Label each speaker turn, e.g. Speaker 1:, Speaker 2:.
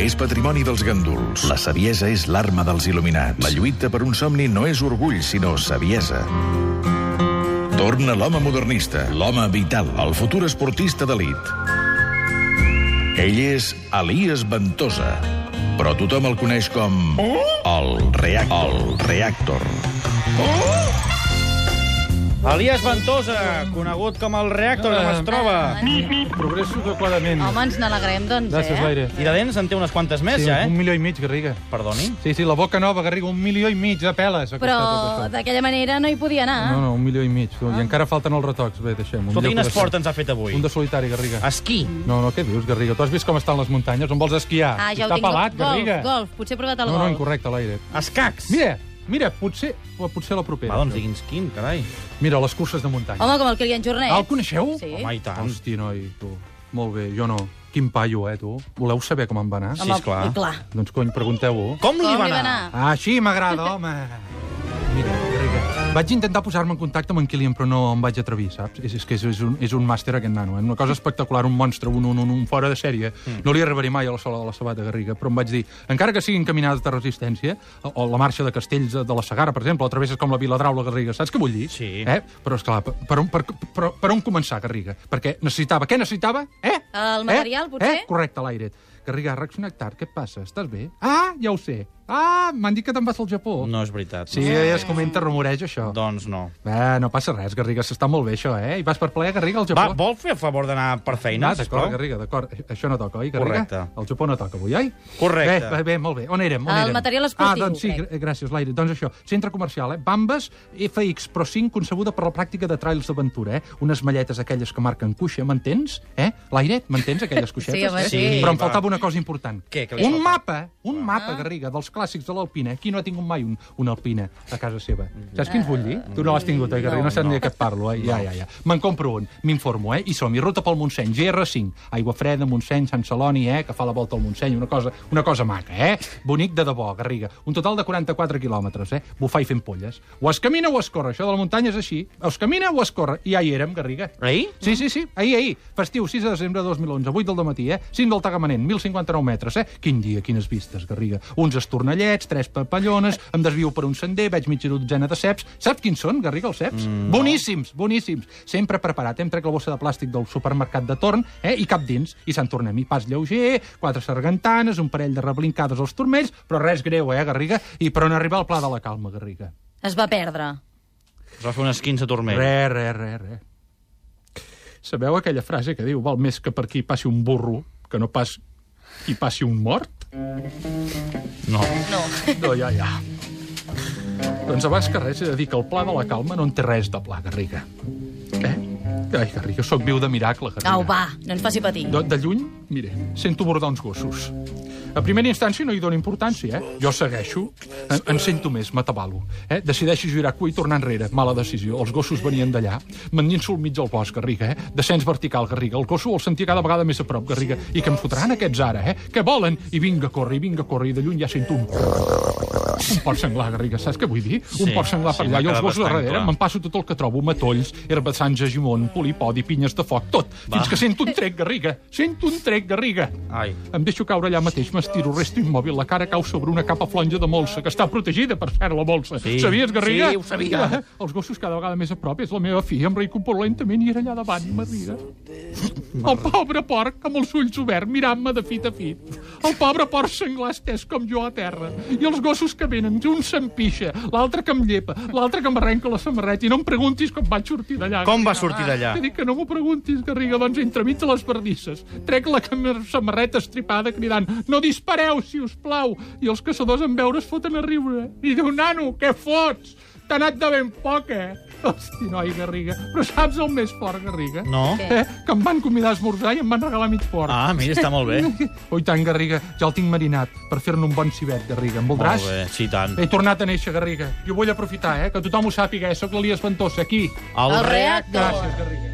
Speaker 1: és patrimoni dels ganduls. La saviesa és l'arma dels il·luminats. La lluita per un somni no és orgull, sinó saviesa. Torna l'home modernista, l'home vital, el futur esportista d'elit. Ell és Elias Ventosa, però tothom el coneix com... El Reactor. El Reactor.
Speaker 2: Elias Ventosa, conegut com el reactor, com es troba.
Speaker 3: Progresso adequadament.
Speaker 4: Home, ens n'alegrem, doncs,
Speaker 3: Gràcies,
Speaker 4: eh?
Speaker 3: Laire.
Speaker 2: I de dents en té unes quantes més,
Speaker 3: Sí,
Speaker 2: ja,
Speaker 3: un
Speaker 2: eh?
Speaker 3: milió i mig, Garriga.
Speaker 2: Perdoni?
Speaker 3: Sí, sí, la boca nova, Garriga, un milió i mig de peles. ha
Speaker 4: Però
Speaker 3: costat tot això.
Speaker 4: d'aquella manera no hi podia anar.
Speaker 3: No, no, un milió i mig.
Speaker 4: Ah.
Speaker 3: I encara falten els retocs. Bé, deixem.
Speaker 2: Escolta, quin
Speaker 3: millor que
Speaker 2: esport
Speaker 3: deixem.
Speaker 2: ens ha fet avui?
Speaker 3: Un de solitari, Garriga.
Speaker 2: Esquí.
Speaker 3: No, no, què dius, Garriga? Tu has vist com estan les muntanyes? On vols esquiar?
Speaker 4: Ah, ja ho
Speaker 3: Està
Speaker 4: tinc.
Speaker 3: pelat,
Speaker 4: golf,
Speaker 3: Garriga.
Speaker 4: golf. Potser he provat el
Speaker 3: No, no,
Speaker 4: golf.
Speaker 3: incorrecte, l'aire.
Speaker 2: Escacs.
Speaker 3: Mira, mira, potser, potser la propera.
Speaker 2: Va, doncs digui'ns quin, carai.
Speaker 3: Mira, les curses de muntanya.
Speaker 4: Home, com el Kilian Jornet.
Speaker 3: Ah, el coneixeu?
Speaker 4: Sí.
Speaker 2: Home, i tant.
Speaker 3: Hosti, noi, tu. Molt bé, jo no. Quin paio, eh, tu. Voleu saber com em va anar?
Speaker 2: Sí, esclar.
Speaker 4: i clar.
Speaker 3: Doncs, cony, pregunteu-ho.
Speaker 2: Com li
Speaker 4: Com
Speaker 2: va anar?
Speaker 3: Ah, Així m'agrada, home. Mira, Enrique, vaig intentar posar-me en contacte amb en Kilian, però no em vaig atrevir, saps? És, és que és, és, un, és un màster aquest nano, eh? una cosa espectacular, un monstre, un, un, un, un fora de sèrie. Mm. No li arribaré mai a la sola de la sabata, Garriga, però em vaig dir, encara que siguin caminades de resistència, o, o la marxa de castells de, de la Segara, per exemple, o travesses com la Viladraula, Garriga, saps què vull dir?
Speaker 2: Sí.
Speaker 3: Eh? Però, esclar, per, per, on- per, per, per on començar, Garriga? Perquè necessitava... Què necessitava? Eh?
Speaker 4: El material,
Speaker 3: eh?
Speaker 4: potser?
Speaker 3: Eh? Correcte, l'aire. Garriga, reaccionat tard, què et passa? Estàs bé? Ah, ja ho sé. Ah, m'han dit que te'n vas al Japó.
Speaker 2: No és veritat.
Speaker 3: Sí, eh.
Speaker 2: No.
Speaker 3: ja es comenta, rumoreig, això.
Speaker 2: Doncs no.
Speaker 3: Bé, no passa res, Garriga, s'està molt bé, això, eh? I vas per plaer, Garriga, al
Speaker 2: Va,
Speaker 3: Japó.
Speaker 2: vol fer el favor d'anar per feina,
Speaker 3: Ah,
Speaker 2: sisplau?
Speaker 3: d'acord, Garriga, d'acord. Això no toca, oi, Garriga?
Speaker 2: Correcte.
Speaker 3: El Japó no toca avui, oi?
Speaker 2: Correcte.
Speaker 3: Bé, bé, bé molt bé. On érem? On
Speaker 4: El
Speaker 3: érem?
Speaker 4: material esportiu,
Speaker 3: Ah, doncs sí,
Speaker 4: crec.
Speaker 3: gr- gràcies, Laire. Doncs això, centre comercial, eh? Bambes FX Pro 5, concebuda per la pràctica de trails d'aventura, eh? Unes malletes aquelles que marquen cuixa, m'entens? Eh? L'aire, m'entens, aquelles cuixetes? Eh?
Speaker 4: Sí, home, sí.
Speaker 3: Però em
Speaker 2: Va.
Speaker 3: faltava una cosa important.
Speaker 2: Què, què li
Speaker 3: un
Speaker 2: falta?
Speaker 3: mapa, un mapa, Garriga, dels clàssics de l'alpina. Qui no ha tingut mai un, una alpina a casa seva? Saps quins vull dir? Tu no l'has tingut, oi, Garriga? Mm. No, saps ni de què et parlo, eh? Ja, ja, ja. Me'n compro un, m'informo, eh? I som-hi, ruta pel Montseny, GR5, Aigua Freda, Montseny, Sant Celoni, eh? Que fa la volta al Montseny, una cosa, una cosa maca, eh? Bonic de debò, Garriga. Un total de 44 quilòmetres, eh? Bufar i fent polles. O es camina o es corre, això de la muntanya és així. O es camina o es corre. I ja hi érem, Garriga.
Speaker 2: Ahir?
Speaker 3: Sí, sí, sí. Ahir, ahir. Festiu, 6 de desembre de 2011, 8 del matí, eh? Cim del Tagamanent, 1.059 metres, eh? Quin dia, quines vistes, Garriga. Uns estornellets, tres papallones, em desvio per un sender, veig mitja dotzena de ceps. Saps quins són, Garriga, els ceps? Mm, boníssims, boníssims. Sempre preparat. Hem trec la bossa de plàstic del supermercat de torn, eh? I cap dins. I se'n tornem. I pas lleuger, quatre sargantanes, un parell de reblincades als turmells, però res greu, eh, Garriga? I per on arribar al pla de la calma, Garriga?
Speaker 4: Es va perdre.
Speaker 2: Es va fer unes 15 turmells.
Speaker 3: Re, re, re, re. Sabeu aquella frase que diu val més que per aquí passi un burro que no pas qui passi un mort?
Speaker 2: No.
Speaker 4: No.
Speaker 3: No, ja, ja. doncs abans que res he de dir que el pla de la calma no en té res de pla, Garriga. Eh? Ai, Garriga, sóc viu de miracle, Garriga.
Speaker 4: Au, va, no ens faci patir.
Speaker 3: De, de lluny, mire, sento bordar uns gossos. A primera instància no hi dono importància, eh? Jo segueixo, en, en sento més, m'atabalo. Eh? Decideixo girar cua i tornar enrere. Mala decisió. Els gossos venien d'allà. M'endinso al mig del bosc, Garriga, eh? Descens vertical, Garriga. El gosso el sentia cada vegada més a prop, Garriga. I que em fotran aquests ara, eh? Que volen? I vinga, corre, i vinga, corre. I de lluny ja sento un... Un porc senglar, Garriga, saps què vull dir? un porc senglar
Speaker 2: sí,
Speaker 3: per allà
Speaker 2: m'ha
Speaker 3: i els
Speaker 2: quedat
Speaker 3: gossos
Speaker 2: bastant
Speaker 3: darrere.
Speaker 2: clar.
Speaker 3: Me'n passo tot el que trobo, matolls, herbassans a gimón, polipodi, pinyes de foc, tot. Va. Fins que sento un trec, Garriga. Sento un trec, Garriga.
Speaker 2: Ai.
Speaker 3: Em deixo caure allà mateix, m'estiro, resto immòbil, la cara cau sobre una capa flonja de molsa, que està protegida, per cert, la molsa.
Speaker 2: Sí.
Speaker 3: Sabies, Garriga?
Speaker 2: Sí, ho sabia.
Speaker 3: Ah, Els gossos cada vegada més a prop, és la meva filla, em reicupo lentament i era allà davant, Garriga. El pobre porc, amb els ulls oberts, mirant-me de fit a fit. El pobre porc senglar estès com jo a terra. I els gossos que venen, un s'empixa, l'altre que em llepa, l'altre que em arrenca la samarreta, i no em preguntis com vaig sortir d'allà.
Speaker 2: Com va
Speaker 3: Garriga.
Speaker 2: sortir d'allà?
Speaker 3: T'he dit que no m'ho preguntis, Garriga, doncs entremig de les bardisses. Trec la cam- samarreta estripada cridant «No dispareu, si us plau!» I els caçadors en veure es foten a riure. I diu «Nano, què fots? T'ha anat de ben poc, eh?» Hosti, noi, Garriga. Però saps el més fort, Garriga?
Speaker 2: No?
Speaker 3: Eh, que em van convidar a esmorzar i em van regalar mig porc.
Speaker 2: Ah, mira, està molt bé.
Speaker 3: Oh, i tant, Garriga, ja el tinc marinat per fer-ne un bon civet, Garriga. Em voldràs?
Speaker 2: Molt bé, sí, i tant.
Speaker 3: He tornat a néixer, Garriga. I ho vull aprofitar, eh? Que tothom ho sàpiga, eh? Soc l'Elias Ventosa, aquí.
Speaker 4: El reactor.
Speaker 3: Gràcies, Garriga.